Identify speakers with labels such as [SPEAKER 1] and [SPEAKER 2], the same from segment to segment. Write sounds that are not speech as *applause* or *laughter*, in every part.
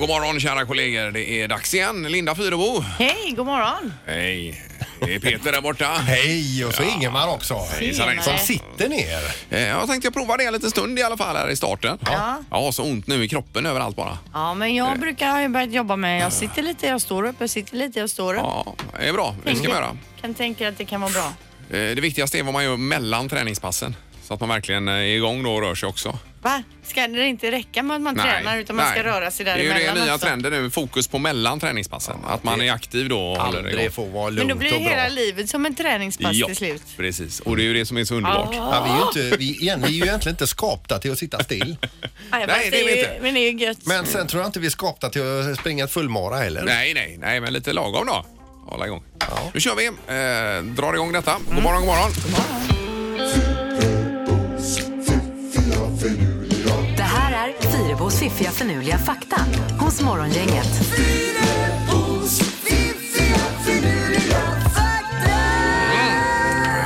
[SPEAKER 1] god morgon kära kollegor. Det är dags igen. Linda Fyrebo.
[SPEAKER 2] Hej, god morgon.
[SPEAKER 1] Hej. Det är Peter där borta.
[SPEAKER 3] Hej, och så Ingemar också.
[SPEAKER 1] Hejsan, hejsan.
[SPEAKER 3] Som sitter ner.
[SPEAKER 1] Eh, Jag tänkte jag provar det en liten stund i alla fall här i starten.
[SPEAKER 2] Ja.
[SPEAKER 1] Ja, så ont nu i kroppen överallt bara.
[SPEAKER 2] Ja, men jag brukar ha börjat jobba med, jag sitter lite, jag står upp, jag sitter lite, jag står upp.
[SPEAKER 1] Ja, det är bra. Det ska man göra.
[SPEAKER 2] Kan tänka att det kan vara bra.
[SPEAKER 1] Eh, Det viktigaste är vad man gör mellan träningspassen. Så att man verkligen eh, är igång då och rör sig också.
[SPEAKER 2] Va? Ska det inte räcka med att man tränar utan man ska
[SPEAKER 1] nej.
[SPEAKER 2] röra sig
[SPEAKER 1] Det är ju
[SPEAKER 2] däremellan
[SPEAKER 1] det nya
[SPEAKER 2] också?
[SPEAKER 1] trenden nu. Fokus på mellan träningspassen. att man
[SPEAKER 3] det-
[SPEAKER 1] är aktiv då och håller det igång.
[SPEAKER 3] Aldrig får vara
[SPEAKER 2] Men
[SPEAKER 3] lugnt
[SPEAKER 2] då
[SPEAKER 3] och
[SPEAKER 2] blir ju hela
[SPEAKER 3] bra.
[SPEAKER 2] livet som en träningspass
[SPEAKER 1] Ja,
[SPEAKER 2] till slut.
[SPEAKER 1] precis. Och det är ju det som är så underbart.
[SPEAKER 3] Ja, vi, är ju inte, vi, igen, vi är ju egentligen inte skapta till att sitta still.
[SPEAKER 2] Nej,
[SPEAKER 1] Nej,
[SPEAKER 2] fast
[SPEAKER 1] det är vi
[SPEAKER 2] ju-
[SPEAKER 1] inte.
[SPEAKER 2] Men det är ju gött.
[SPEAKER 3] Men sen tror jag inte vi är skapta till att springa ett fullmara heller.
[SPEAKER 1] Nej, nej, nej, men lite lagom då. Hålla igång. Nu kör vi. Eh, drar igång detta. God morgon, god morgon.
[SPEAKER 4] Det här är Fyrabos fiffiga förnuliga fakta hos Morgongänget.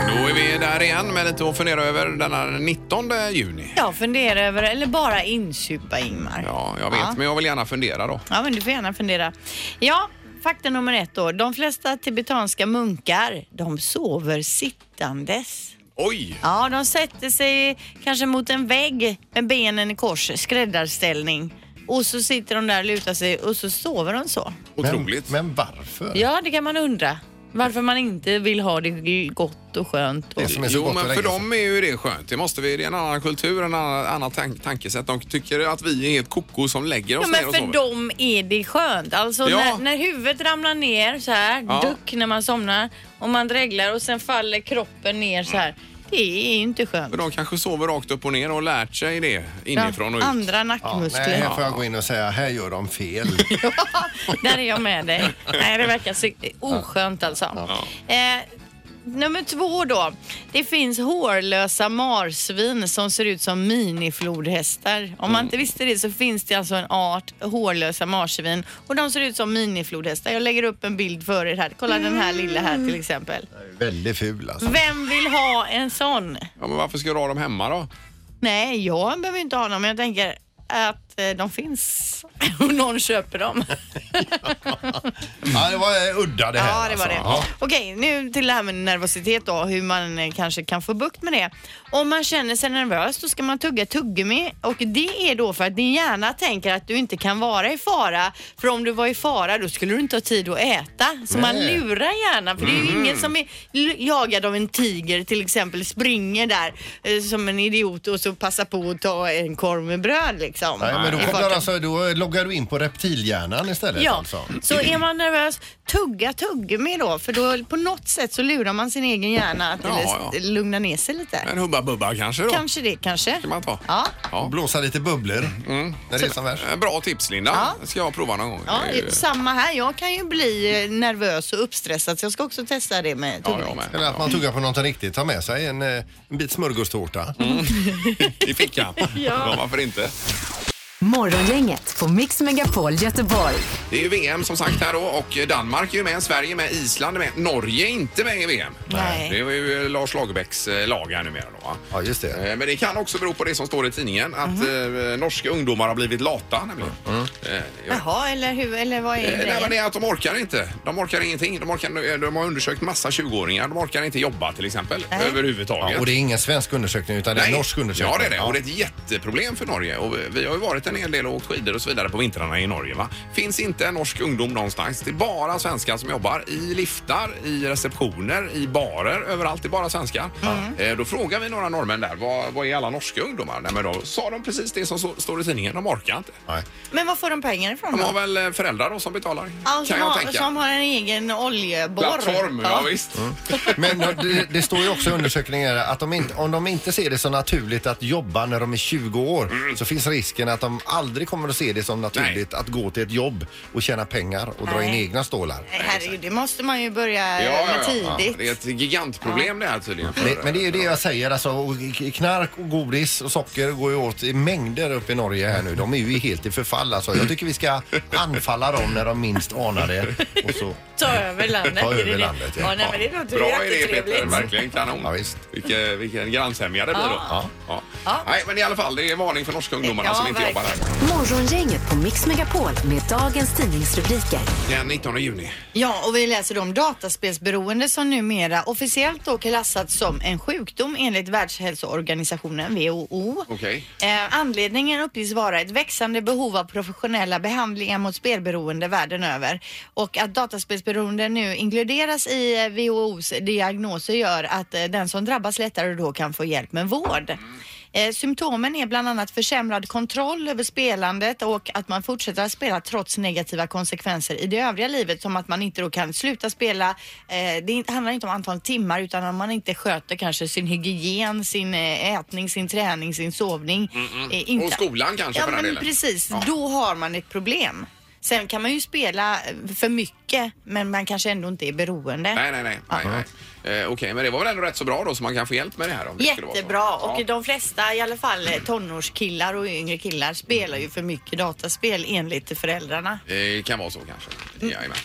[SPEAKER 1] Då är vi där igen med lite att fundera över denna 19 juni.
[SPEAKER 2] Jag funderar över, eller bara insupa Ingmar.
[SPEAKER 1] Ja, jag vet,
[SPEAKER 2] Ja.
[SPEAKER 1] men jag vill gärna fundera då.
[SPEAKER 2] Ja, men du får gärna fundera. Ja, fakta nummer ett då. De flesta tibetanska munkar, de sover sittandes.
[SPEAKER 1] Oj!
[SPEAKER 2] Ja, de sätter sig kanske mot en vägg med benen i kors, skräddarställning. Och så sitter de där och lutar sig och så sover de så.
[SPEAKER 1] Otroligt.
[SPEAKER 3] Men, men varför?
[SPEAKER 2] Ja, det kan man undra. Varför man inte vill ha det gott och skönt. Och...
[SPEAKER 3] Det som är så
[SPEAKER 1] Jo,
[SPEAKER 3] gott att
[SPEAKER 1] men för
[SPEAKER 3] lägga sig.
[SPEAKER 1] dem är ju det skönt. Det, måste vi, det är en annan kultur, en annan, annan tank, tankesätt. De tycker att vi är helt koko som lägger oss
[SPEAKER 2] Ja,
[SPEAKER 1] ner
[SPEAKER 2] men
[SPEAKER 1] och
[SPEAKER 2] för
[SPEAKER 1] sover.
[SPEAKER 2] dem är det skönt. Alltså
[SPEAKER 1] Ja.
[SPEAKER 2] när, när huvudet ramlar ner så här,
[SPEAKER 1] Ja.
[SPEAKER 2] duck när man somnar och man dreglar och sen faller kroppen ner så här. Det är ju inte skönt.
[SPEAKER 1] För de kanske sover rakt upp och ner och lärt sig det inifrån och ut.
[SPEAKER 2] Andra
[SPEAKER 3] Ja, nej,
[SPEAKER 2] nackmuskler.
[SPEAKER 3] här får jag gå in och säga, här gör
[SPEAKER 2] *laughs*
[SPEAKER 3] de fel.
[SPEAKER 2] Där är jag med dig. Nej, det verkar så oskönt alltså. Eh, nummer två då. Det finns hårlösa marsvin som ser ut som miniflodhästar. Om man inte visste det så finns det alltså en art hårlösa marsvin och de ser ut som miniflodhästar. Jag lägger upp en bild för er här. Kolla den här lilla här till exempel.
[SPEAKER 3] Väldigt ful alltså.
[SPEAKER 2] Vem vill ha en sån?
[SPEAKER 1] Ja, men varför ska du ha dem hemma då?
[SPEAKER 2] Nej, jag behöver inte ha dem, men jag tänker att eh, de finns *laughs* och någon köper dem.
[SPEAKER 3] Ja, det var eh, udda det här.
[SPEAKER 2] Ja, det var det.
[SPEAKER 3] alltså.
[SPEAKER 2] Okej, nu till det här med nervositet då, hur man eh, kanske kan få bukt med det. Om man känner sig nervös då ska man tugga tuggummi och det är då för att din hjärna tänker att du inte kan vara i fara för om du var i fara då skulle du inte ha tid att äta. Så man
[SPEAKER 3] Nej. Mhm.
[SPEAKER 2] lurar hjärnan för det är ju ingen som är l- jagad av en tiger till exempel springer där eh, som en idiot och så passar på att ta en korv med bröd liksom.
[SPEAKER 3] Ja. Nej, men
[SPEAKER 2] I
[SPEAKER 3] då,
[SPEAKER 2] farten.
[SPEAKER 3] kommer alltså, då loggar du in på reptilhjärnan istället
[SPEAKER 2] Ja,
[SPEAKER 3] alltså.
[SPEAKER 2] så är man nervös, tugga tuggummi då för då på något sätt så lurar man sin egen hjärna att
[SPEAKER 1] Ja,
[SPEAKER 2] eller
[SPEAKER 1] ja.
[SPEAKER 2] s- lugna ner sig lite.
[SPEAKER 1] En Hubba Bubba kanske då?
[SPEAKER 2] Kanske det, kanske.
[SPEAKER 1] Kan man ta.
[SPEAKER 2] Ja.
[SPEAKER 1] Ja.
[SPEAKER 3] Blåsa lite bubblor när det är som värst.
[SPEAKER 1] Eh, Bra tips Linda.
[SPEAKER 2] Ja.
[SPEAKER 1] Ska jag prova någon gång.
[SPEAKER 2] Ja,
[SPEAKER 1] Det är ju-
[SPEAKER 2] samma här. Jag kan ju bli eh, nervös och uppstressad så jag ska också testa det med
[SPEAKER 1] Ja,
[SPEAKER 2] tuggummi.
[SPEAKER 1] jag med.
[SPEAKER 3] Eller att man tuggar på något riktigt, tar med sig en, eh, en bit smörgåstårta.
[SPEAKER 1] Mm. I fickan. ja. varför inte?
[SPEAKER 4] Morgongänget på Mix Megapol Göteborg.
[SPEAKER 1] Det är ju VM som sagt här då och Danmark är ju med, Sverige är med, Island är med, Norge är inte med i VM.
[SPEAKER 2] Nej.
[SPEAKER 1] Det var ju Lars Lagerbäcks eh, lag här numera då. va?
[SPEAKER 3] Ja, just det.
[SPEAKER 1] Eh, Men det kan också bero på det som står i tidningen att eh, norska ungdomar har blivit lata nämligen. Eh, jag-
[SPEAKER 2] Jaha, eller, hur, eller vad är
[SPEAKER 1] Eh, Nej, men
[SPEAKER 2] det?
[SPEAKER 1] det är att de orkar inte. De orkar ingenting. De, orkar, eh, de har undersökt massa 20-åringar. De orkar inte jobba till exempel.
[SPEAKER 2] Nej.
[SPEAKER 1] Överhuvudtaget.
[SPEAKER 3] Ja, och det är ingen svensk undersökning utan det är en
[SPEAKER 1] Nej.
[SPEAKER 3] norsk undersökning.
[SPEAKER 1] Ja, det är det. Och det är ett jätteproblem för Norge. Och vi- vi har ju varit en hel del och åkt skidor och så vidare på vintrarna i Norge. Va? Finns inte en norsk ungdom någonstans. Det är bara svenskar som jobbar i liftar, i receptioner, i barer. Överallt det är bara svenskar. Eh, då frågar vi några norrmän där, vad, vad är alla norska ungdomar? Nej, men då sa de precis det som så, står i tidningen. De orkar inte.
[SPEAKER 3] Nej.
[SPEAKER 2] Men var får de pengar ifrån
[SPEAKER 1] De har
[SPEAKER 2] då?
[SPEAKER 1] väl eh, föräldrar då som betalar,
[SPEAKER 2] Ja, som,
[SPEAKER 1] kan jag
[SPEAKER 2] har,
[SPEAKER 1] tänka.
[SPEAKER 2] som Mm. har en egen oljeborr.
[SPEAKER 1] Plattform, ja, visst.
[SPEAKER 3] Men det, det står ju också i undersökningar att de inte, om de inte ser det som naturligt att jobba när de är 20 år
[SPEAKER 1] Mm.
[SPEAKER 3] så finns risken att de aldrig kommer att se det som naturligt att gå till ett jobb och tjäna pengar och dra
[SPEAKER 2] Nej.
[SPEAKER 3] in egna stålar.
[SPEAKER 2] Nej, Herregud, det måste man ju börja med Eh, tidigt.
[SPEAKER 1] Det är ett gigantproblem det här tydligen. för- eh,
[SPEAKER 3] Det, men det är ju det jag säger, alltså, och k- knark och godis och socker går ju åt i mängder uppe i Norge här nu. De är ju helt i förfall alltså. Jag tycker vi ska anfalla dem när de minst anar det. Och så,
[SPEAKER 2] Ta över landet.
[SPEAKER 3] Ta
[SPEAKER 2] är det
[SPEAKER 3] över
[SPEAKER 2] det?
[SPEAKER 3] landet, ja.
[SPEAKER 2] nej, men det låter ju
[SPEAKER 1] Bra idé Peter,
[SPEAKER 2] jättetrevligt.
[SPEAKER 1] verkligen kanon.
[SPEAKER 3] Ja, visst.
[SPEAKER 1] Vilken, vilken grannsämja det blir då.
[SPEAKER 3] Ja.
[SPEAKER 1] Ja.
[SPEAKER 2] Ja.
[SPEAKER 1] Nej, men i alla fall, det är varning för norska ungdomarna
[SPEAKER 2] Ja,
[SPEAKER 1] som inte jobbar
[SPEAKER 4] Morgongänget på Mix Megapol med dagens tidningsrubriker.
[SPEAKER 1] Den 19 juni.
[SPEAKER 2] Ja, och vi läser då om dataspelsberoende som numera officiellt då klassats som en sjukdom enligt Världshälsoorganisationen, WHO.
[SPEAKER 1] Okej.
[SPEAKER 2] Eh, anledningen uppges vara ett växande behov av professionella behandlingar mot spelberoende världen över och att dataspelsberoende nu inkluderas i eh, WHOs diagnoser gör att eh, den som drabbas lättare då kan få hjälp med vård. Eh, Symptomen är bland annat försämrad kontroll över spelandet och att man fortsätter att spela trots negativa konsekvenser i det övriga livet som att man inte då kan sluta spela. Eh, Det är inte- handlar inte om antal timmar utan om man inte sköter kanske sin hygien, sin eh, ätning, sin träning, sin sovning. eh,
[SPEAKER 1] Och skolan kanske
[SPEAKER 2] Ja
[SPEAKER 1] för den
[SPEAKER 2] men
[SPEAKER 1] delen.
[SPEAKER 2] precis,
[SPEAKER 1] Ja.
[SPEAKER 2] då har man ett problem. Sen kan man ju spela eh, för mycket men man kanske ändå inte är beroende.
[SPEAKER 1] Nej, nej, nej. nej, nej. Eh, Okej, men det var väl ändå rätt så bra då så man kan få hjälp med det här? Om det skulle vara så.
[SPEAKER 2] Jättebra och
[SPEAKER 1] Ja.
[SPEAKER 2] de flesta i alla fall eh, tonårskillar och yngre killar spelar ju för mycket dataspel enligt föräldrarna.
[SPEAKER 1] Det kan vara så kanske. Jajamän.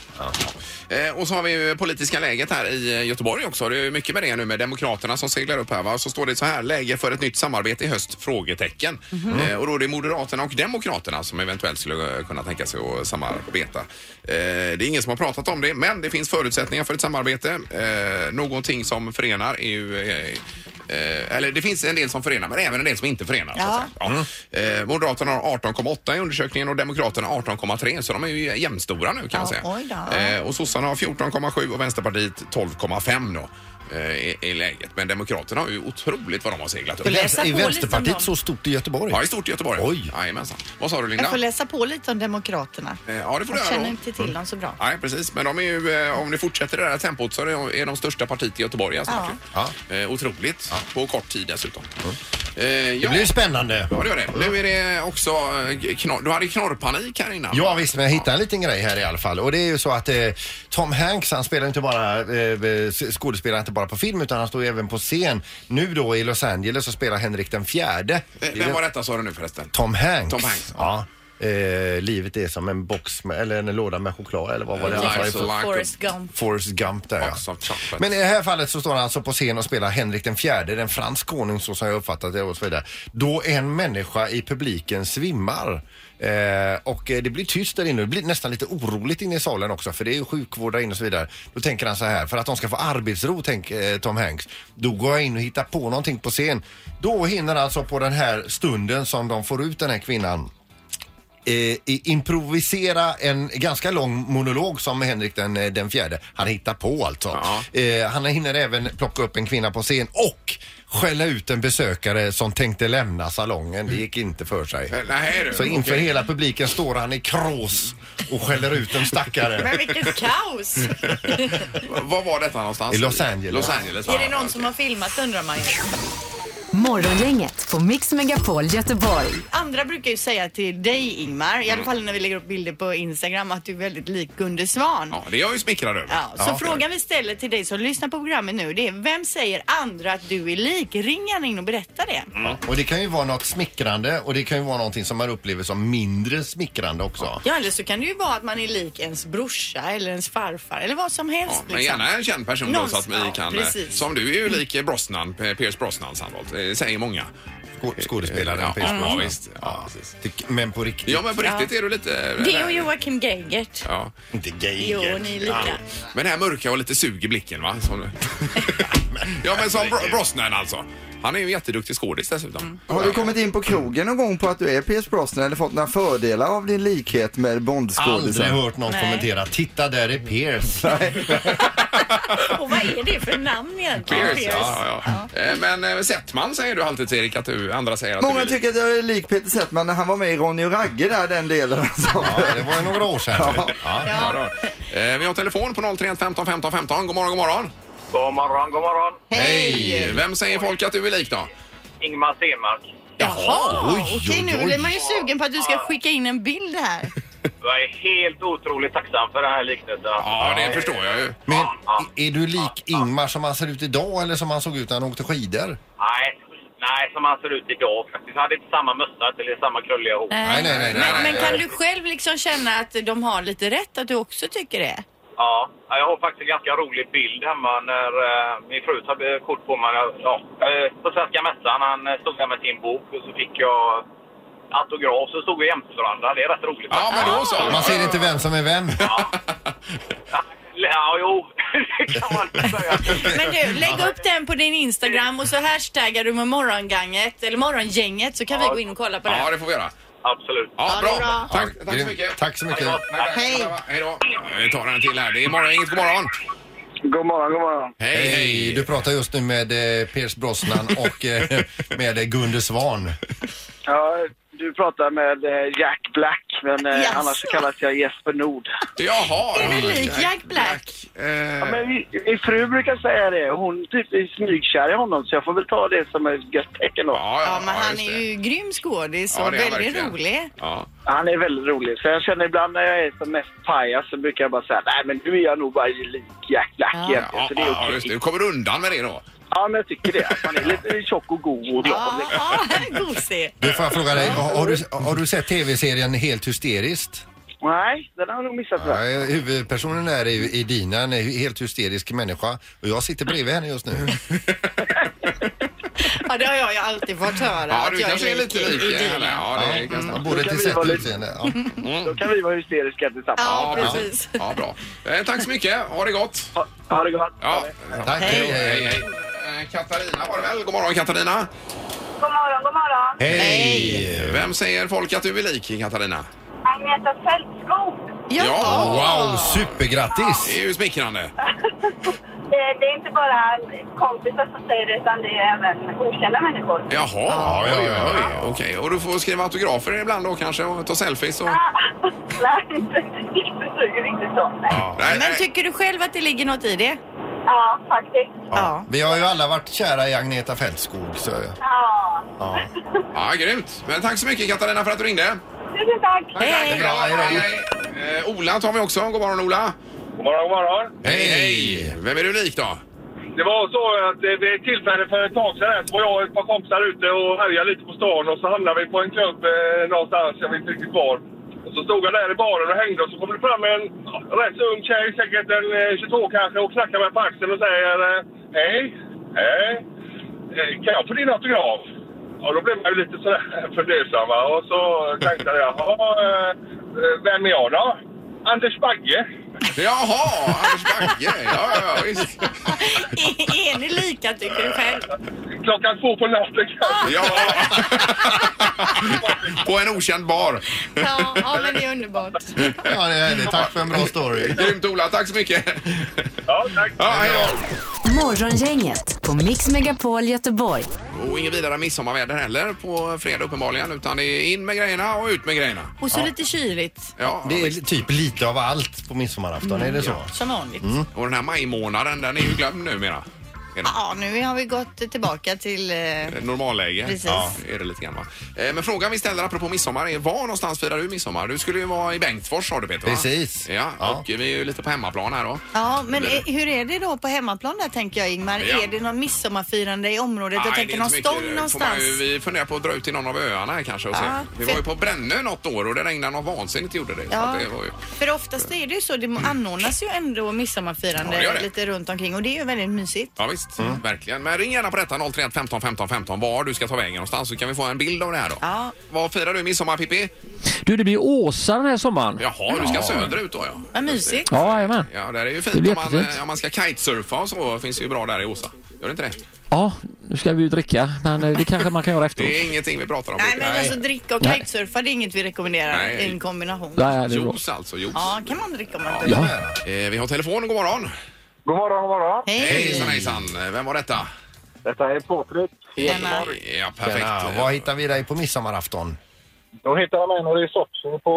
[SPEAKER 1] Eh, Och så har vi ju politiska läget här i eh, Göteborg också. Det är ju mycket med det nu med Demokraterna som seglar upp här va. Så står det så här, läge för ett nytt samarbete i höst? Frågetecken. Eh, Och då är det Moderaterna och Demokraterna som eventuellt skulle eh, kunna tänka sig att samarbeta. Eh, Det är ingen som har pratat om det, men det finns förutsättningar för ett samarbete. Eh, Någonting som förenar är ju eh, Eh, eller det finns en del som förenar men även en del som inte förenar. Så att
[SPEAKER 3] Mm.
[SPEAKER 1] säga. Ja. Eh, Moderaterna har 18,8 i undersökningen och Demokraterna 18,3 så de är ju jämnstora nu kan
[SPEAKER 2] Ja,
[SPEAKER 1] man säga.
[SPEAKER 2] oj då.
[SPEAKER 1] Eh, och sossarna har 14,7 och Vänsterpartiet 12,5 då. eh, I, I läget. Men Demokraterna har ju otroligt vad de har seglat upp.
[SPEAKER 2] Läs Läsa på
[SPEAKER 3] Är
[SPEAKER 2] lite om
[SPEAKER 3] Vänsterpartiet
[SPEAKER 2] dem.
[SPEAKER 3] så stort i Göteborg?
[SPEAKER 1] Ja, i stort i Göteborg.
[SPEAKER 3] Oj.
[SPEAKER 1] Jajamensan. Vad sa du
[SPEAKER 2] Jag
[SPEAKER 1] Linda?
[SPEAKER 2] får läsa på lite om Demokraterna.
[SPEAKER 1] Eh, ja, det får du
[SPEAKER 2] Jag
[SPEAKER 1] göra
[SPEAKER 2] känner
[SPEAKER 1] då.
[SPEAKER 2] inte till dem så bra.
[SPEAKER 1] Nej, precis. Men de är ju, eh, om det fortsätter i det här tempot så är de, är de största partiet i Göteborg. Alltså.
[SPEAKER 3] Ja. Mm.
[SPEAKER 1] Eh, otroligt. På kort tid dessutom. Eh,
[SPEAKER 3] Det
[SPEAKER 1] ja.
[SPEAKER 3] blir spännande.
[SPEAKER 1] Ja, det gör det. Nu är det också eh, knorr. Du hade knorrpanik här innan.
[SPEAKER 3] Ja visst, men jag hittade en liten grej här i alla fall. Och det är ju så att eh, Tom Hanks, han spelar inte bara eh, eh, skådespelare inte bara på film utan han står ju även på scen. Nu då i Los Angeles så spelar Henrik den fjärde.
[SPEAKER 1] Eh, Vem var detta sa du nu förresten?
[SPEAKER 3] Tom Hanks.
[SPEAKER 1] Tom Hanks,
[SPEAKER 3] Ja. Eh, livet är som en box med, eller en låda med choklad eller vad var det han sa? i
[SPEAKER 1] Life
[SPEAKER 3] for-
[SPEAKER 1] like
[SPEAKER 2] Forrest
[SPEAKER 1] a-
[SPEAKER 2] Gump.
[SPEAKER 3] Forrest Gump där
[SPEAKER 1] Box
[SPEAKER 3] ja.
[SPEAKER 1] of chocolate.
[SPEAKER 3] Men i det här fallet så står han alltså på scen och spelar Henrik den fjärde, den fransk konung så som jag uppfattat det och så vidare. Då en människa i publiken svimmar. Eh, och eh, det blir tyst där inne. Det blir nästan lite oroligt inne i salen också för det är ju sjukvård där inne och så vidare. Då tänker han så här, för att de ska få arbetsro, tänk, eh, Tom Hanks. Då går jag in och hittar på någonting på scen. Då hinner alltså på den här stunden som de får ut den här kvinnan eh, i- improvisera en ganska lång monolog som Henrik den, eh, den fjärde. Han hittar på alltså.
[SPEAKER 1] Ja.
[SPEAKER 3] Eh, han hinner även plocka upp en kvinna på scen och skälla ut en besökare som tänkte lämna salongen. Det gick inte för sig.
[SPEAKER 1] Eh, Nej du.
[SPEAKER 3] Så inför
[SPEAKER 1] Okej.
[SPEAKER 3] hela publiken står han i krås och skäller ut en stackare.
[SPEAKER 2] Men
[SPEAKER 1] *laughs*
[SPEAKER 2] vilket kaos!
[SPEAKER 1] Var var detta någonstans?
[SPEAKER 3] I Los Angeles.
[SPEAKER 1] Los Angeles
[SPEAKER 2] Är det någon som har filmat undrar man ju.
[SPEAKER 4] Morgongänget på Mix Megapol Göteborg.
[SPEAKER 2] Andra brukar ju säga till dig Ingmar,
[SPEAKER 1] Mm.
[SPEAKER 2] i alla fall när vi lägger upp bilder på Instagram, att du är väldigt lik Gunde Svan.
[SPEAKER 1] Ja, det är jag ju smickrad över.
[SPEAKER 2] Ja, så frågan vi ställer till dig som lyssnar på programmet nu det är vem säger andra att du är lik? Ring gärna in och berätta det.
[SPEAKER 3] Och det kan ju vara något smickrande och det kan ju vara någonting som man upplever som mindre smickrande också.
[SPEAKER 2] Ja, eller så kan det ju vara att man är lik ens brorsa eller ens farfar eller vad som helst.
[SPEAKER 1] Ja, men
[SPEAKER 2] liksom.
[SPEAKER 1] gärna en känd person då, så att vi
[SPEAKER 2] Någonstans- ja,
[SPEAKER 1] kan... eh,
[SPEAKER 2] precis.
[SPEAKER 1] Som du är ju lik eh, Brosnan, eh, Pierce Brosnan sannolikt. Eh, Säger många.
[SPEAKER 3] Skå- Skådespelaren
[SPEAKER 1] Ja,
[SPEAKER 3] Pierce
[SPEAKER 1] ja,
[SPEAKER 3] Brosnan.
[SPEAKER 1] visst. Ja, precis.
[SPEAKER 3] Tyck- Men på riktigt.
[SPEAKER 1] Ja, men på riktigt är du lite... eh,
[SPEAKER 2] Det och Joakim Geigert.
[SPEAKER 1] Ja.
[SPEAKER 3] Inte gay.
[SPEAKER 2] Jo, ni är lika.
[SPEAKER 1] Men det här mörka och lite sug i blicken va? Som... *laughs* ja men som Bro- Brosnan alltså. Han är ju en jätteduktig skådis dessutom.
[SPEAKER 2] Mm.
[SPEAKER 5] Har du kommit in på krogen någon gång på att du är Pierce Brosnan eller fått några fördelar av din likhet med
[SPEAKER 3] Aldrig
[SPEAKER 5] Bond-skådisen?
[SPEAKER 3] hört någon
[SPEAKER 2] Nej.
[SPEAKER 3] kommentera. Titta där är Pierce.
[SPEAKER 2] Och vad är det för namn egentligen?
[SPEAKER 1] Pierce, ja, ja. Eh, Men eh, Settman säger du alltid till Erik att du, andra säger att
[SPEAKER 5] Många
[SPEAKER 1] du
[SPEAKER 5] tycker att jag är lik Peter Settman när han var med i Ronny och Ragge där, den delen. *laughs* Alltså.
[SPEAKER 3] Ja, det var ju några år sedan.
[SPEAKER 5] Ja.
[SPEAKER 3] Ja.
[SPEAKER 1] Ja. då. Eh, Vi har telefon på 031 15 15 15. God morgon, god morgon.
[SPEAKER 6] God morgon, god morgon.
[SPEAKER 1] Hej! Vem säger folk att du är lik då?
[SPEAKER 6] Ingmar Stenmark.
[SPEAKER 2] Jaha,
[SPEAKER 3] Oj, oj,
[SPEAKER 2] okej nu
[SPEAKER 3] oj.
[SPEAKER 2] blir man ju sugen på att du ska skicka in en bild här.
[SPEAKER 6] Jag är helt otroligt tacksam för den här liknelsen.
[SPEAKER 1] Ja, det förstår jag ju.
[SPEAKER 3] Men i- är du lik Ingmar som han ser ut idag eller som han såg ut när han åkte skidor?
[SPEAKER 6] Nej, nej, som han ser ut idag faktiskt. Han hade inte samma mössa eller samma krulliga hår.
[SPEAKER 3] Nej, nej, nej. nej.
[SPEAKER 2] Men, men kan du själv liksom känna att de har lite rätt, att du också tycker det?
[SPEAKER 6] Ja, jag har faktiskt en ganska rolig bild hemma när eh, min fru tog eh, kort på mig. Ja, eh, på Svenska Mässan, han eh, stod där med sin bok och så fick jag autograf så stod vi jämte varandra. Det är rätt roligt.
[SPEAKER 1] Ja, men då så.
[SPEAKER 3] Man ser inte vem som är
[SPEAKER 1] *laughs*
[SPEAKER 3] vem.
[SPEAKER 6] Ja, jo, *laughs* det kan man inte
[SPEAKER 1] *laughs*
[SPEAKER 6] säga.
[SPEAKER 2] Men
[SPEAKER 3] *laughs*
[SPEAKER 2] du, lägg upp den på din Instagram och så hashtaggar du med morgonganget, eller morgongänget, så kan vi gå in och kolla på
[SPEAKER 1] Ja,
[SPEAKER 2] det.
[SPEAKER 1] det får vi göra.
[SPEAKER 6] Absolut.
[SPEAKER 1] Ja,
[SPEAKER 2] Ja, det
[SPEAKER 1] bra.
[SPEAKER 2] är bra.
[SPEAKER 1] Tack,
[SPEAKER 3] Ja,
[SPEAKER 1] tack så
[SPEAKER 3] grym.
[SPEAKER 1] mycket.
[SPEAKER 3] Tack så mycket.
[SPEAKER 1] Hej. Hej då. Vi tar en till här. Det är morgon, inget god morgon.
[SPEAKER 6] God morgon, god morgon.
[SPEAKER 1] Hej, hej.
[SPEAKER 3] Du pratar just nu med eh, Piers Brosnan
[SPEAKER 1] *laughs*
[SPEAKER 3] och eh, med eh, Gunde Svan.
[SPEAKER 6] Ja, du pratar med eh, Jack Black, men eh,
[SPEAKER 2] Jaså?
[SPEAKER 6] annars så kallas jag Jesper Nord.
[SPEAKER 1] Jaha.
[SPEAKER 2] Är du lik Jack Black?
[SPEAKER 1] Eh,
[SPEAKER 6] Men min, min fru brukar säga det. Hon typ är smygkär i honom, så jag får väl ta det som ett gött tecken då.
[SPEAKER 2] Ja, men han
[SPEAKER 1] just
[SPEAKER 2] är
[SPEAKER 1] det.
[SPEAKER 2] ju grym skådis och
[SPEAKER 1] Ja, det är han
[SPEAKER 2] väldigt
[SPEAKER 1] verkligen.
[SPEAKER 2] rolig.
[SPEAKER 1] Ja.
[SPEAKER 6] Han är väldigt rolig. Så jag känner ibland när jag är som mest pajas så brukar jag bara säga nej men nu är jag nog bara lik Jack Black
[SPEAKER 2] Ja.
[SPEAKER 6] egentligen.
[SPEAKER 1] Ja,
[SPEAKER 6] så det är
[SPEAKER 1] ja,
[SPEAKER 6] okej.
[SPEAKER 1] just det. Du kommer undan med det då.
[SPEAKER 6] Ja, men jag tycker det. Att man är lite tjock och god och glad.
[SPEAKER 2] Ja, ja, *laughs* gosig.
[SPEAKER 3] Du får jag fråga dig, har, har, du, har du sett tv-serien Helt hysteriskt?
[SPEAKER 6] Nej, den har jag nog missat.
[SPEAKER 3] Ja, eh,
[SPEAKER 6] Ja.
[SPEAKER 3] huvudpersonen är i, i Dina, en helt hysterisk människa och jag sitter bredvid henne just nu.
[SPEAKER 2] Ja, det har jag ju alltid fått höra.
[SPEAKER 1] Ja,
[SPEAKER 2] att
[SPEAKER 1] du
[SPEAKER 2] jag
[SPEAKER 1] kanske är lite
[SPEAKER 2] i-
[SPEAKER 1] lik
[SPEAKER 2] i din.
[SPEAKER 1] henne. Ja, det kan stämma.
[SPEAKER 3] Både
[SPEAKER 6] kan
[SPEAKER 3] till
[SPEAKER 6] vi
[SPEAKER 3] sätt
[SPEAKER 6] vara
[SPEAKER 3] och
[SPEAKER 6] lite-
[SPEAKER 3] utseende. Ja.
[SPEAKER 6] Då kan vi vara hysteriska tillsammans.
[SPEAKER 2] Ja,
[SPEAKER 1] Ja,
[SPEAKER 2] precis.
[SPEAKER 1] Ja, bra. Eh, tack så mycket. Ha det gott.
[SPEAKER 6] Ha, ha det gott.
[SPEAKER 1] Ja.
[SPEAKER 3] Tack, hej,
[SPEAKER 1] Hej,
[SPEAKER 3] hej.
[SPEAKER 1] hej. Eh, Katarina var det väl? God morgon, Katarina.
[SPEAKER 7] God morgon, god morgon.
[SPEAKER 3] Hej!
[SPEAKER 1] Vem säger folk att du är lik, Katarina?
[SPEAKER 7] Agneta Fältskog.
[SPEAKER 2] Ja.
[SPEAKER 1] Ja,
[SPEAKER 3] Wow,
[SPEAKER 1] Det
[SPEAKER 3] supergrattis!
[SPEAKER 1] är ju smickrande.
[SPEAKER 7] Eh, Det är inte bara kompisar som säger det, utan det är även okända människor. *laughs*
[SPEAKER 1] Jaha, ja,
[SPEAKER 3] ja,
[SPEAKER 1] oj,
[SPEAKER 3] ja,
[SPEAKER 1] oj, oj. Okej, och du får skriva autografer ibland då kanske och ta selfies och...
[SPEAKER 7] Ah, Nej, inte inte suger riktigt så. Nej.
[SPEAKER 1] Ja, nej,
[SPEAKER 2] Men
[SPEAKER 1] nej.
[SPEAKER 2] tycker du själv att det ligger något i det?
[SPEAKER 7] Ja, faktiskt.
[SPEAKER 2] Ja.
[SPEAKER 3] Vi har ju alla varit kära i Agneta Fältskog. Så,
[SPEAKER 7] Ja.
[SPEAKER 3] ja.
[SPEAKER 1] Ja, grymt. Men tack så mycket Katarina för att du ringde.
[SPEAKER 7] Tusen tack.
[SPEAKER 2] Hej! *laughs*
[SPEAKER 3] Bra, hej då.
[SPEAKER 1] Eh, Ola tar vi också. God morgon Ola.
[SPEAKER 6] God morgon, god morgon.
[SPEAKER 3] Hej!
[SPEAKER 1] Vem är du lik då?
[SPEAKER 6] Det var så att eh, vid ett tillfälle för ett tag sedan här så var jag och ett par kompisar ute och härjade lite på stan och så hamnade vi på en klubb eh, någonstans, jag vet inte riktigt var. Och så stod jag där i baren och hängde och så kom det fram en ja, rätt så ung tjej, säkert en eh, 22 kanske, och knackade mig på axeln och säger eh, Hej, hej, eh, kan jag få din autograf? Och då blev man ju lite sådär *laughs* fundersam va? och så tänkte jag, jaha, eh, eh, vem är jag då? Anders Bagge.
[SPEAKER 1] Jaha, Anders Bagge. Ja, ja, ja, visst.
[SPEAKER 2] Är ni lika tycker du själv?
[SPEAKER 6] Klockan två på natten kanske.
[SPEAKER 1] Ja. På en okänd bar.
[SPEAKER 2] Ja, ja men det är underbart.
[SPEAKER 3] Ja, det är härligt. Tack för en bra story.
[SPEAKER 1] Grymt Ola, tack så mycket.
[SPEAKER 6] Ja, tack.
[SPEAKER 1] Ja, hej då.
[SPEAKER 4] Morgongänget på Mix Megapol Göteborg.
[SPEAKER 1] Och inget vidare midsommarväder heller på fredag uppenbarligen utan det är in med grejerna och ut med grejerna.
[SPEAKER 2] Och så lite kyligt,
[SPEAKER 1] Ja,
[SPEAKER 3] Det är typ lite av allt på midsommarafton, är det så?
[SPEAKER 2] som vanligt.
[SPEAKER 1] och den här majmånaden den är ju glömd numera. Är det-
[SPEAKER 2] Ja, nu har vi gått tillbaka till... Eh,
[SPEAKER 1] Normalläge.
[SPEAKER 2] Precis.
[SPEAKER 1] Ja, är det lite grann, va? Eh, Men frågan vi ställer apropå midsommar är var någonstans firar du midsommar? Du skulle ju vara i Bengtsfors sa du Peter va?
[SPEAKER 3] Precis.
[SPEAKER 1] Ja,
[SPEAKER 3] Ja.
[SPEAKER 1] och vi är ju lite på hemmaplan här då.
[SPEAKER 2] ja, men eh, hur är det då på hemmaplan där tänker jag Ingmar?
[SPEAKER 1] Ja.
[SPEAKER 2] Är det någon midsommarfirande i området? jag
[SPEAKER 1] Nej,
[SPEAKER 2] tänker
[SPEAKER 1] det är
[SPEAKER 2] någon
[SPEAKER 1] inte så mycket.
[SPEAKER 2] stång
[SPEAKER 1] Får man
[SPEAKER 2] någonstans.
[SPEAKER 1] ju- Vi funderar på att dra ut till någon av öarna här kanske och se.
[SPEAKER 2] Ja,
[SPEAKER 1] Vi
[SPEAKER 2] för-
[SPEAKER 1] var ju på Brännö något år och det regnade något vansinnigt gjorde det. Så
[SPEAKER 2] Ja,
[SPEAKER 1] att det var ju... Mm.
[SPEAKER 2] för oftast är det ju så. Det anordnas ju ändå midsommarfirande
[SPEAKER 1] Ja, det gör det.
[SPEAKER 2] lite runt omkring och det är ju väldigt mysigt.
[SPEAKER 1] Ja visst,
[SPEAKER 8] Mm.
[SPEAKER 1] verkligen. Men ring gärna på detta 031 15 15 15 var du ska ta vägen någonstans så kan vi få en bild av det här då.
[SPEAKER 2] Ja.
[SPEAKER 1] Vad firar du midsommar Pippi?
[SPEAKER 8] Du, det blir Åsa den här sommaren.
[SPEAKER 1] Jaha, du ska söderut då ja.
[SPEAKER 2] Vad mysigt.
[SPEAKER 8] Ja, jajamän.
[SPEAKER 1] Ja, där är ju
[SPEAKER 8] Det
[SPEAKER 1] fint
[SPEAKER 8] blir
[SPEAKER 1] om man,
[SPEAKER 8] jättefint.
[SPEAKER 1] eh, om man ska kitesurfa och så finns det ju bra där i Åsa. Gör det inte det?
[SPEAKER 8] Ja, nu ska vi ju dricka, men eh, det kanske man kan göra efteråt.
[SPEAKER 1] Det är ingenting vi pratar om.
[SPEAKER 2] Nej,
[SPEAKER 1] Pippi.
[SPEAKER 2] men alltså dricka och
[SPEAKER 8] Nej.
[SPEAKER 2] kitesurfa det är inget vi rekommenderar
[SPEAKER 1] Nej.
[SPEAKER 2] i en kombination.
[SPEAKER 8] Ja, ja, det är bra.
[SPEAKER 1] Juice alltså, juice.
[SPEAKER 2] Ja, kan man dricka om man inte
[SPEAKER 8] Ja.
[SPEAKER 1] Eh, vi har telefon, god morgon.
[SPEAKER 6] God morgon, god morgon.
[SPEAKER 1] Hejsan hejsan, Eh, vem var detta?
[SPEAKER 6] Detta är Patrik.
[SPEAKER 2] Tjena.
[SPEAKER 1] Ja, perfekt.
[SPEAKER 3] Ja,
[SPEAKER 1] Eh,
[SPEAKER 3] var hittar vi dig på midsommarafton?
[SPEAKER 6] Då hittade jag mig nere i Sochi på,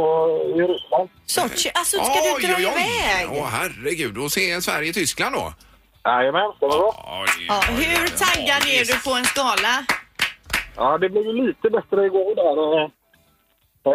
[SPEAKER 6] i Ryssland.
[SPEAKER 2] Sochi, alltså ska
[SPEAKER 1] Oj,
[SPEAKER 2] du dra
[SPEAKER 1] oj, oj.
[SPEAKER 2] iväg?
[SPEAKER 1] Åh herregud, och se Sverige-Tyskland då?
[SPEAKER 6] Jajamän, det var bra.
[SPEAKER 1] Oj,
[SPEAKER 2] Ja,
[SPEAKER 1] oj,
[SPEAKER 2] hur
[SPEAKER 1] oj.
[SPEAKER 2] taggad
[SPEAKER 1] Ja,
[SPEAKER 2] är du på en skala?
[SPEAKER 6] Ja, det blev ju lite bättre igår där. eh, eh,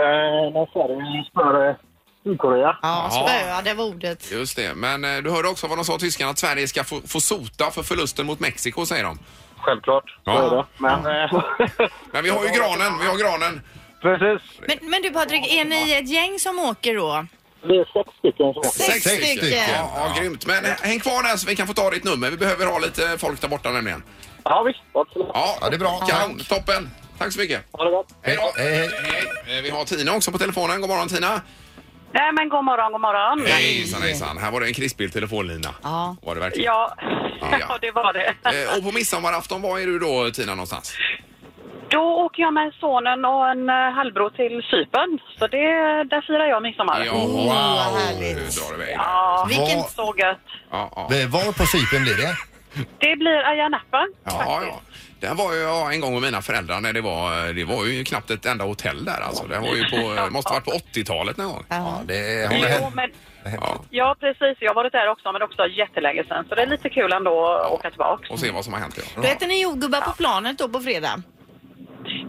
[SPEAKER 6] När Sverige spöade Sydkorea.
[SPEAKER 2] Ja,
[SPEAKER 1] Ja.
[SPEAKER 2] spöa, det var ordet.
[SPEAKER 1] Just det, men eh, du hörde också vad de sa tyskarna att Sverige ska få, få sota för förlusten mot Mexiko säger de.
[SPEAKER 6] Självklart.
[SPEAKER 1] Ja.
[SPEAKER 6] Så är det. Men... eh, *laughs*
[SPEAKER 1] Men vi har ju granen, vi har granen.
[SPEAKER 6] Precis.
[SPEAKER 2] Men, men du Patrik, är ni ett gäng som åker då?
[SPEAKER 6] Det är sex stycken som åker.
[SPEAKER 2] Sex stycken.
[SPEAKER 1] Ja, ja, grymt. Men eh, häng kvar där så vi kan få ta ditt nummer. Vi behöver ha lite folk där borta nämligen.
[SPEAKER 6] Ja, visst. Absolut.
[SPEAKER 1] Ja,
[SPEAKER 3] Ja, det är bra.
[SPEAKER 1] Kanon, toppen. Tack så mycket.
[SPEAKER 6] Ha det gott.
[SPEAKER 1] Hej då.
[SPEAKER 3] Hej, hej.
[SPEAKER 1] Eh, Vi har Tina också på telefonen. God morgon Tina.
[SPEAKER 7] Nej, men god morgon, god morgon.
[SPEAKER 1] Hejsan hejsan. Här var det en krispig telefonlina.
[SPEAKER 2] Ja.
[SPEAKER 1] Var det verkligen.
[SPEAKER 7] Ja,
[SPEAKER 1] Ah, Ja.
[SPEAKER 7] *laughs* ja, det var det.
[SPEAKER 1] Eh, Och på midsommarafton, var är du då Tina någonstans?
[SPEAKER 7] Då åker jag med sonen och en eh, halvbror till Cypern. Så det, där firar jag midsommar.
[SPEAKER 1] Ja,
[SPEAKER 2] Åh, vad
[SPEAKER 1] Nu
[SPEAKER 2] härligt.
[SPEAKER 1] drar det iväg.
[SPEAKER 7] Ja,
[SPEAKER 2] Vilken...
[SPEAKER 3] Var-
[SPEAKER 7] så gött.
[SPEAKER 1] Ja, ja.
[SPEAKER 3] Eh, Var på Cypern blir det?
[SPEAKER 7] Det blir Ayia Napa.
[SPEAKER 1] Ja, ja. Där var ju jag en gång med mina föräldrar när det var, det var ju knappt ett enda hotell där alltså. Det var ju på, måste varit på 80-talet någon gång.
[SPEAKER 3] Ja,
[SPEAKER 2] Ja.
[SPEAKER 3] det har det
[SPEAKER 7] Jo,
[SPEAKER 3] hänt.
[SPEAKER 7] men,
[SPEAKER 1] Ja,
[SPEAKER 7] ja, precis. Jag har varit där också, men också jättelänge sedan. Så det är lite kul ändå att åka tillbaka.
[SPEAKER 1] och se vad som har hänt.
[SPEAKER 2] Då
[SPEAKER 1] Ja.
[SPEAKER 2] äter ni jordgubbar på planet då på fredag.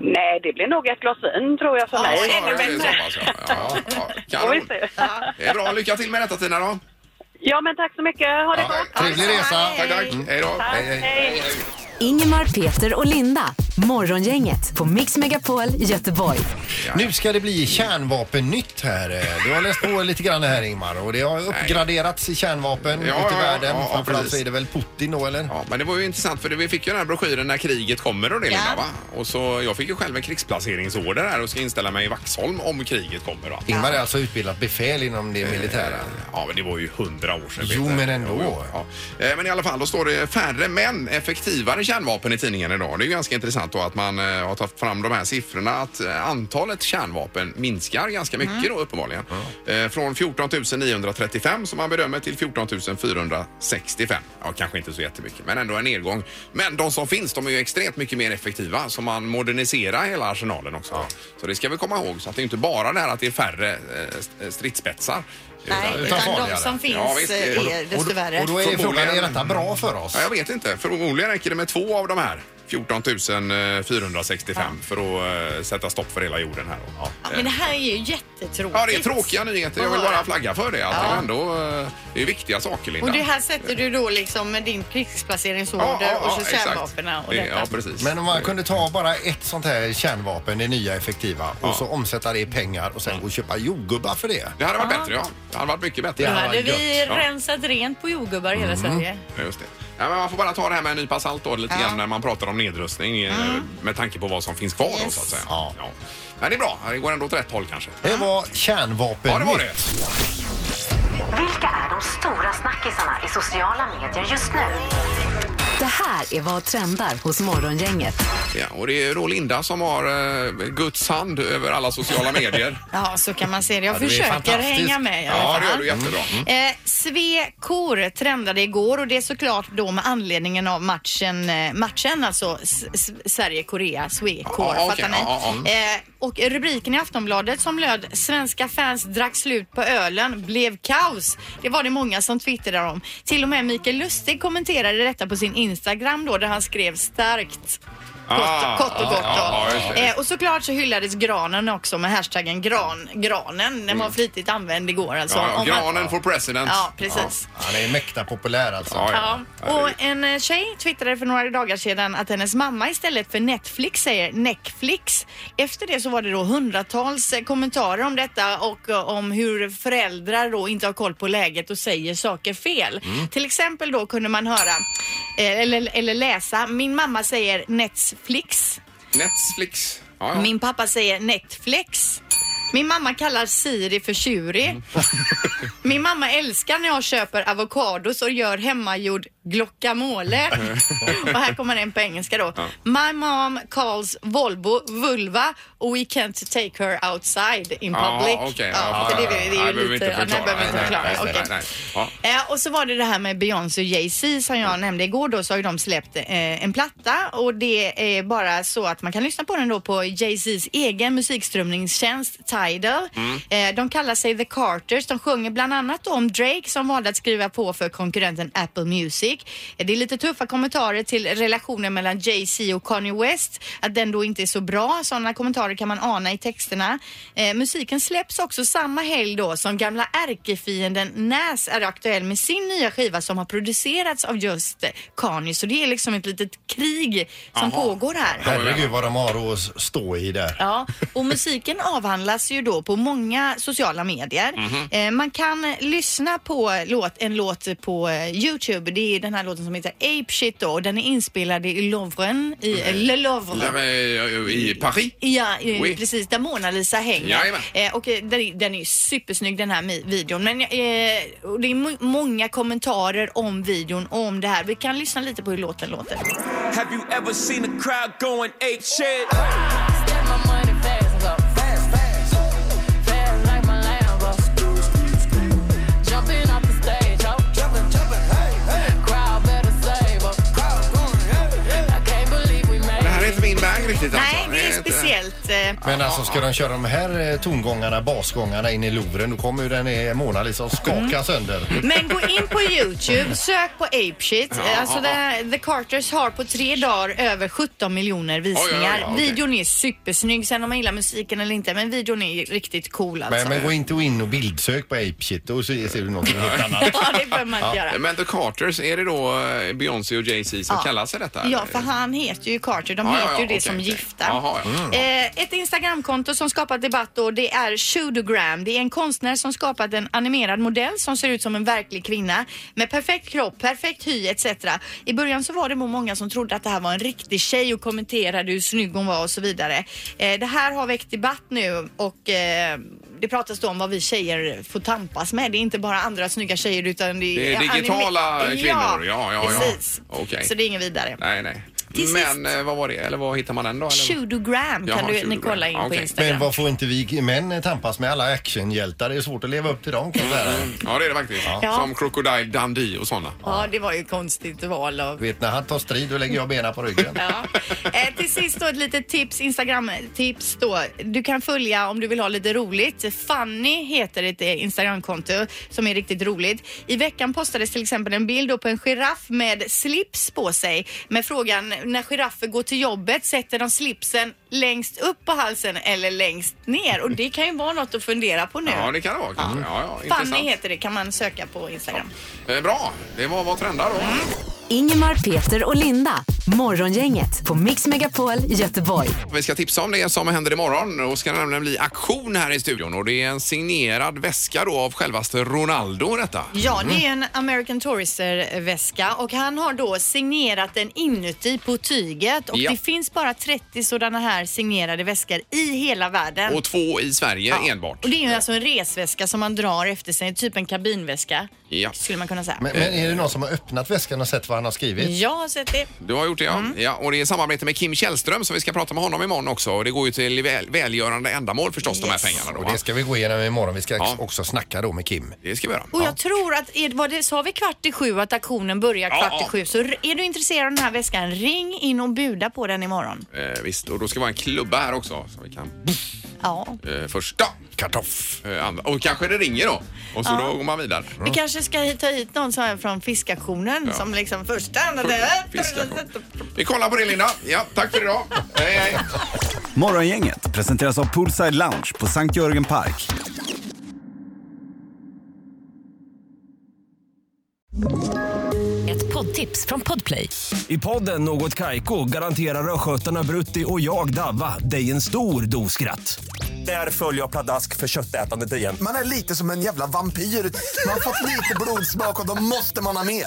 [SPEAKER 7] Nej, det blir nog ett glas vin, tror jag, för
[SPEAKER 2] Ja,
[SPEAKER 7] mig.
[SPEAKER 1] Ja,
[SPEAKER 2] ännu
[SPEAKER 1] det är så
[SPEAKER 2] bättre.
[SPEAKER 1] pass, ja. Ja, ja.
[SPEAKER 7] Får vi
[SPEAKER 1] Kanon.
[SPEAKER 7] se.
[SPEAKER 1] Det är bra. Lycka till med detta Tina då.
[SPEAKER 7] *laughs* Ja, men tack så mycket. Ha det
[SPEAKER 1] Ja,
[SPEAKER 7] gott.
[SPEAKER 3] Trevlig resa. Mm.
[SPEAKER 1] Tack, tack. Hej då.
[SPEAKER 7] Tack.
[SPEAKER 3] hej.
[SPEAKER 7] Hej.
[SPEAKER 4] Ingemar, Peter och Linda. Morgongänget på Mix Megapol Göteborg.
[SPEAKER 3] Nu ska det bli kärnvapennytt här. eh. Du har läst på lite grann här Ingmar och det har uppgraderats i kärnvapen
[SPEAKER 1] Ja,
[SPEAKER 3] ute i
[SPEAKER 1] ja,
[SPEAKER 3] världen.
[SPEAKER 1] ja, ja,
[SPEAKER 3] Framförallt så
[SPEAKER 1] precis.
[SPEAKER 3] är det väl Putin då eller?
[SPEAKER 1] Ja, men det var ju intressant för vi fick ju den här broschyren när kriget kommer och det Linda, va? Och så jag fick ju själv en krigsplaceringsorder här och ska inställa mig i Vaxholm om kriget kommer. Och allt.
[SPEAKER 3] Ingmar är alltså utbildat befäl inom det
[SPEAKER 2] Eh,
[SPEAKER 3] militära.
[SPEAKER 1] Ja, men det var ju hundra år sedan.
[SPEAKER 3] Jo,
[SPEAKER 1] Peter.
[SPEAKER 3] men ändå.
[SPEAKER 1] ja. Eh, Men i alla fall, då står det färre men effektivare kärnvapen i tidningen idag. Det är ju ganska intressant då att man eh, har tagit fram de här siffrorna att eh, antalet kärnvapen minskar ganska mycket då uppenbarligen. Eh, Från 14 935 som man bedömer till 14 465. Ja, kanske inte så jättemycket, men ändå en nedgång. Men de som finns, de är ju extremt mycket mer effektiva så man moderniserar hela arsenalen också. Så det ska vi komma ihåg. Så att det är inte bara det här att det är färre eh, stridsspetsar.
[SPEAKER 2] Nej,
[SPEAKER 1] utan-
[SPEAKER 2] utan
[SPEAKER 3] utan
[SPEAKER 2] de
[SPEAKER 3] farligare.
[SPEAKER 2] som finns
[SPEAKER 1] Ja, visst, det-
[SPEAKER 2] eh, är
[SPEAKER 3] Och
[SPEAKER 2] desto
[SPEAKER 3] då,
[SPEAKER 2] värre.
[SPEAKER 3] och då är ju frågan, är
[SPEAKER 1] Förmodligen.
[SPEAKER 3] detta bra för oss?
[SPEAKER 1] Ja, jag vet inte. Förmodligen räcker det med två av de här. 14 465 för att eh, sätta stopp för hela jorden här. då.
[SPEAKER 2] Ja, men det här är ju jättetråkigt.
[SPEAKER 1] Ja, det är tråkiga nyheter. Jag vill bara flagga för det. Att
[SPEAKER 2] Ja.
[SPEAKER 1] det, är ändå, eh, det är viktiga saker, Linda.
[SPEAKER 2] Och det här sätter du då liksom med din krigsplaceringsorder och så
[SPEAKER 1] exakt.
[SPEAKER 2] kärnvapnen och
[SPEAKER 1] Det-
[SPEAKER 2] detta.
[SPEAKER 1] Ja, precis.
[SPEAKER 3] Men om man kunde ta bara ett sånt här kärnvapen, det nya effektiva, och så omsätta det i pengar och
[SPEAKER 1] Mm.
[SPEAKER 3] sen gå och köpa jordgubbar för det.
[SPEAKER 1] Det hade varit bättre, ja. Det hade varit mycket bättre.
[SPEAKER 2] Då
[SPEAKER 3] Ja,
[SPEAKER 2] hade vi
[SPEAKER 1] gött. Ja. Mm.
[SPEAKER 2] rensat rent på jordgubbar i hela Sverige.
[SPEAKER 1] Ja, Just det. Ja, men man får bara ta det här med en nypa salt då, lite
[SPEAKER 2] Ja.
[SPEAKER 1] grann när man pratar om nedrustning eh, med tanke på vad som finns kvar då, så att säga.
[SPEAKER 3] Ja.
[SPEAKER 1] Men det är bra. Det går ändå åt rätt håll kanske.
[SPEAKER 3] Det var kärnvapen.
[SPEAKER 1] Ja, det var det.
[SPEAKER 4] Vilka är de stora snackisarna i sociala medier just nu? Det här är vad trendar hos Morgongänget.
[SPEAKER 1] Ja, och det är då Linda som har eh, Guds hand över alla
[SPEAKER 2] *laughs*
[SPEAKER 1] sociala medier.
[SPEAKER 2] Ja, så kan
[SPEAKER 1] *laughs*
[SPEAKER 2] man se det. Jag
[SPEAKER 3] Ja, det är
[SPEAKER 2] försöker
[SPEAKER 3] fantastiskt.
[SPEAKER 2] hänga med i alla
[SPEAKER 1] Ja,
[SPEAKER 2] fall.
[SPEAKER 1] det gör du jättebra. Mm.
[SPEAKER 2] Eh, Svekor trendade igår och det är såklart då med anledningen av matchen, eh, matchen alltså S- S- Sverige-Korea, Svekor,
[SPEAKER 1] Ja, okej,
[SPEAKER 2] fattar ni?
[SPEAKER 1] ja, mm. ja,
[SPEAKER 2] Eh, och rubriken i Aftonbladet som löd “Svenska fans drack slut på ölen, blev kaos”. Det var det många som twittrade om. Till och med Mikael Lustig kommenterade detta på sin Instagram då där han skrev starkt. Kort,
[SPEAKER 1] Ah,
[SPEAKER 2] kort och gott
[SPEAKER 1] ja, ja,
[SPEAKER 2] då.
[SPEAKER 1] just det.
[SPEAKER 2] Eh, och såklart så hyllades granen också med hashtaggen gran, granen. Den var flitigt använd igår alltså.
[SPEAKER 1] Mm. Ja, ja,
[SPEAKER 2] Om man-
[SPEAKER 1] granen får president.
[SPEAKER 2] Ja, precis.
[SPEAKER 3] Han är mäkta populär alltså.
[SPEAKER 1] Ja,
[SPEAKER 2] Ja.
[SPEAKER 1] ja.
[SPEAKER 2] Och en eh, tjej twittrade för några dagar sedan att hennes mamma istället för Netflix säger Netflix. Efter det så var det då hundratals eh, kommentarer om detta och eh, om hur föräldrar då inte har koll på läget och säger saker fel.
[SPEAKER 1] Mm.
[SPEAKER 2] Till exempel då kunde man höra eh, eller, eller läsa, min mamma säger Netflix,
[SPEAKER 1] Netflix. Ja, ja.
[SPEAKER 2] min pappa säger Netflix. Min mamma kallar Siri för
[SPEAKER 1] Mm. *laughs*
[SPEAKER 2] tjurig. Min mamma älskar när jag köper avokados och gör hemmagjord
[SPEAKER 1] *laughs*
[SPEAKER 2] guacamole. och här kommer den på engelska då. My mom calls Volvo vulva och we can't take her outside in
[SPEAKER 1] Ja,
[SPEAKER 2] public.
[SPEAKER 1] okej.
[SPEAKER 2] ja,
[SPEAKER 1] Ja,
[SPEAKER 2] för
[SPEAKER 1] ja,
[SPEAKER 2] det, är-
[SPEAKER 1] ja. Nej,
[SPEAKER 2] det är ju
[SPEAKER 1] behöver vi
[SPEAKER 2] lite...
[SPEAKER 1] inte
[SPEAKER 2] ja, nej,
[SPEAKER 1] förklara.
[SPEAKER 2] behöver vi inte
[SPEAKER 1] Nej, nej, nej,
[SPEAKER 2] förklara. Okej.
[SPEAKER 1] nej, nej.
[SPEAKER 2] Eh, och så var det det här med Beyoncé och Jay-Z som jag nämnde igår då så har ju de släppt eh, en platta och det är bara så att man kan lyssna på den då på Jay-Zs egen musikströmningstjänst Tidal. Eh, de kallar sig The Carters. De sjunger bland annat då om Drake som valde att skriva på för konkurrenten Apple Music. Eh, det är lite tuffa kommentarer till relationen mellan Jay-Z och Kanye West. Att den då inte är så bra. Sådana kommentarer kan man ana i texterna. Eh, musiken släpps också samma helg då som gamla ärkefienden Nas är aktuell med sin nya skiva som har producerats av just eh, Kanye. Så det är liksom ett litet krig som
[SPEAKER 1] Aha.
[SPEAKER 2] pågår här.
[SPEAKER 3] Herregud vad de har att stå i där.
[SPEAKER 2] Ja, och musiken avhandlas ju då på många sociala
[SPEAKER 1] Mhm.
[SPEAKER 2] medier. Eh, man kan lyssna på låt, en låt på eh, Youtube. Det är den den här låten som heter Ape Shit då och den är inspelad i Louvren, i eh, Le Louvre.
[SPEAKER 1] Där, eh, I Paris.
[SPEAKER 2] Ja, eh,
[SPEAKER 1] Oui.
[SPEAKER 2] precis. Där Mona Lisa hänger.
[SPEAKER 1] Jajamän.
[SPEAKER 2] Eh, och eh, den, är- den är ju supersnygg den här mi- videon. Men eh, och det är mo- många kommentarer om videon och om det här. Vi kan lyssna lite på hur låten låter.
[SPEAKER 9] Have you ever seen a crowd going ape shit?
[SPEAKER 1] Det här är inte min väg riktigt alltså.
[SPEAKER 2] Nej, det är
[SPEAKER 1] inte-
[SPEAKER 2] speciellt. Eh,
[SPEAKER 3] Men alltså ska de köra de här eh, tongångarna, basgångarna in i Louvren då kommer ju den eh, Mona Lisa och skaka
[SPEAKER 2] Mm.
[SPEAKER 3] sönder.
[SPEAKER 2] Men gå in på Youtube, sök på Apeshit.
[SPEAKER 1] Ja,
[SPEAKER 2] alltså
[SPEAKER 1] ja,
[SPEAKER 2] det här, The Carters har på tre dagar över 17 miljoner visningar.
[SPEAKER 1] Oj, oj, oj, okej.
[SPEAKER 2] Videon är supersnygg, sen om man gillar musiken eller inte, men videon är riktigt cool alltså.
[SPEAKER 3] Men, men gå inte in och bildsök på Ape Shit och så ser du
[SPEAKER 1] *laughs*
[SPEAKER 3] något helt annat.
[SPEAKER 2] *laughs* Ja, det bör man inte göra.
[SPEAKER 1] Men The Carters, är det då eh, Beyoncé och Jay-Z som kallar sig detta?
[SPEAKER 2] Ja, för han heter ju Carter. De
[SPEAKER 1] Ja, ja,
[SPEAKER 2] heter
[SPEAKER 1] ja,
[SPEAKER 2] ju det
[SPEAKER 1] okej,
[SPEAKER 2] som
[SPEAKER 1] okej.
[SPEAKER 2] gifta.
[SPEAKER 1] Jaha, ja.
[SPEAKER 2] Eh, ett Instagramkonto som skapat debatt och det är Shoodogram. Det är en konstnär som skapat en animerad modell som ser ut som en verklig kvinna med perfekt kropp, perfekt hy etc. I början så var det nog många som trodde att det här var en riktig tjej och kommenterade hur snygg hon var och så vidare. Eh, det här har väckt debatt nu och eh, det pratas då om vad vi tjejer får tampas med. Det är inte bara andra snygga tjejer utan det,
[SPEAKER 1] Det är digitala
[SPEAKER 2] anime-
[SPEAKER 1] kvinnor. Ja, ja, ja.
[SPEAKER 2] Precis.
[SPEAKER 1] Okej.
[SPEAKER 2] Så det är inget vidare.
[SPEAKER 1] Nej, nej.
[SPEAKER 2] Till
[SPEAKER 1] Men eh, vad var det? Eller vad hittar man den då? Eller?
[SPEAKER 2] Shudogram kan
[SPEAKER 1] Jaha,
[SPEAKER 2] du ni
[SPEAKER 1] Shudogram.
[SPEAKER 2] kolla in
[SPEAKER 1] Ja,
[SPEAKER 2] på
[SPEAKER 1] okej.
[SPEAKER 3] Men
[SPEAKER 2] Instagram.
[SPEAKER 3] vad får inte vi män tampas med? Alla actionhjältar, det är svårt att leva upp till dem. kan jag säga.
[SPEAKER 1] Ja, det är det faktiskt.
[SPEAKER 2] Ja.
[SPEAKER 1] Som Crocodile Dundee och sådana.
[SPEAKER 2] Ja, det var ju konstigt val av...
[SPEAKER 3] Vet när han tar strid, då lägger jag benen på ryggen.
[SPEAKER 2] Ja.
[SPEAKER 3] *laughs*
[SPEAKER 2] Eh, till sist då ett litet tips, Instagram-tips då. Du kan följa om du vill ha lite roligt. Fanny heter ett eh, Instagramkonto som är riktigt roligt. I veckan postades till exempel en bild då på en giraff med slips på sig med frågan när giraffer går till jobbet sätter de slipsen längst upp på halsen eller längst ner? Och det kan ju vara något att fundera på nu.
[SPEAKER 1] Ja, det kan det vara kanske. Ja, ja,
[SPEAKER 2] Fanny
[SPEAKER 1] intressant.
[SPEAKER 2] heter det, kan man söka på Instagram.
[SPEAKER 1] Eh, Bra, det var vad trendar då. Mm.
[SPEAKER 4] Ingemar, Peter och Linda. Morgongänget på Mix Megapol Göteborg.
[SPEAKER 1] Vi ska tipsa om det som händer imorgon och ska nämligen bli aktion här i studion och det är en signerad väska då av självaste Ronaldo detta.
[SPEAKER 2] Ja, det
[SPEAKER 1] Mm.
[SPEAKER 2] är en American Tourister-väska och han har då signerat den inuti på tyget och
[SPEAKER 1] Ja.
[SPEAKER 2] det finns bara 30 sådana här signerade väskor i hela världen.
[SPEAKER 1] Och två i Sverige
[SPEAKER 2] Ja.
[SPEAKER 1] enbart.
[SPEAKER 2] Och det är ju alltså en resväska som man drar efter sig, typ en kabinväska
[SPEAKER 1] Ja.
[SPEAKER 2] skulle man kunna säga.
[SPEAKER 3] Men, men är det någon som har öppnat väskan och sett vad han har skrivit?
[SPEAKER 2] Jag har sett det.
[SPEAKER 1] Du har gjort det
[SPEAKER 3] Mm.
[SPEAKER 1] ja. ja. Och det är samarbete med Kim Källström så vi ska prata med honom imorgon också och det går ju till väl, välgörande ändamål förstås de här
[SPEAKER 2] Yes.
[SPEAKER 1] pengarna då.
[SPEAKER 3] Och
[SPEAKER 1] va?
[SPEAKER 3] det ska vi gå igenom imorgon. Vi ska
[SPEAKER 1] Ja.
[SPEAKER 3] också snacka då med Kim.
[SPEAKER 1] Det ska vi göra.
[SPEAKER 3] Oh,
[SPEAKER 2] Och jag tror att, är- vad det, sa vi kvart i sju att aktionen börjar
[SPEAKER 1] Ja,
[SPEAKER 2] kvart
[SPEAKER 1] ja.
[SPEAKER 2] i sju? Så r- är du intresserad av den här väskan, ring in och buda på den imorgon.
[SPEAKER 1] Eh, visst, och då ska vi ha en klubba här också så vi kan
[SPEAKER 2] Ja.
[SPEAKER 1] eh, första kartoff. Eh, andra. Och kanske det ringer då och så då går man vidare.
[SPEAKER 2] Vi kanske ska hit- ta hit någon som är från fiskaktionen som liksom första...
[SPEAKER 1] Fiskaktion. Vi kollar på det Linda. Ja, tack för idag. hej, hej.
[SPEAKER 9] Morgongänget presenteras av Poolside Lounge på Sankt Jörgen Park.
[SPEAKER 4] Ett poddtips från Podplay.
[SPEAKER 10] I podden Något Kaiko garanterar östgötarna Brutti och jag, Davva, dig en stor dos skratt. Där följer jag pladask för köttätandet igen.
[SPEAKER 11] Man är lite som en jävla vampyr. Man har fått lite blodsmak och då måste man ha mer.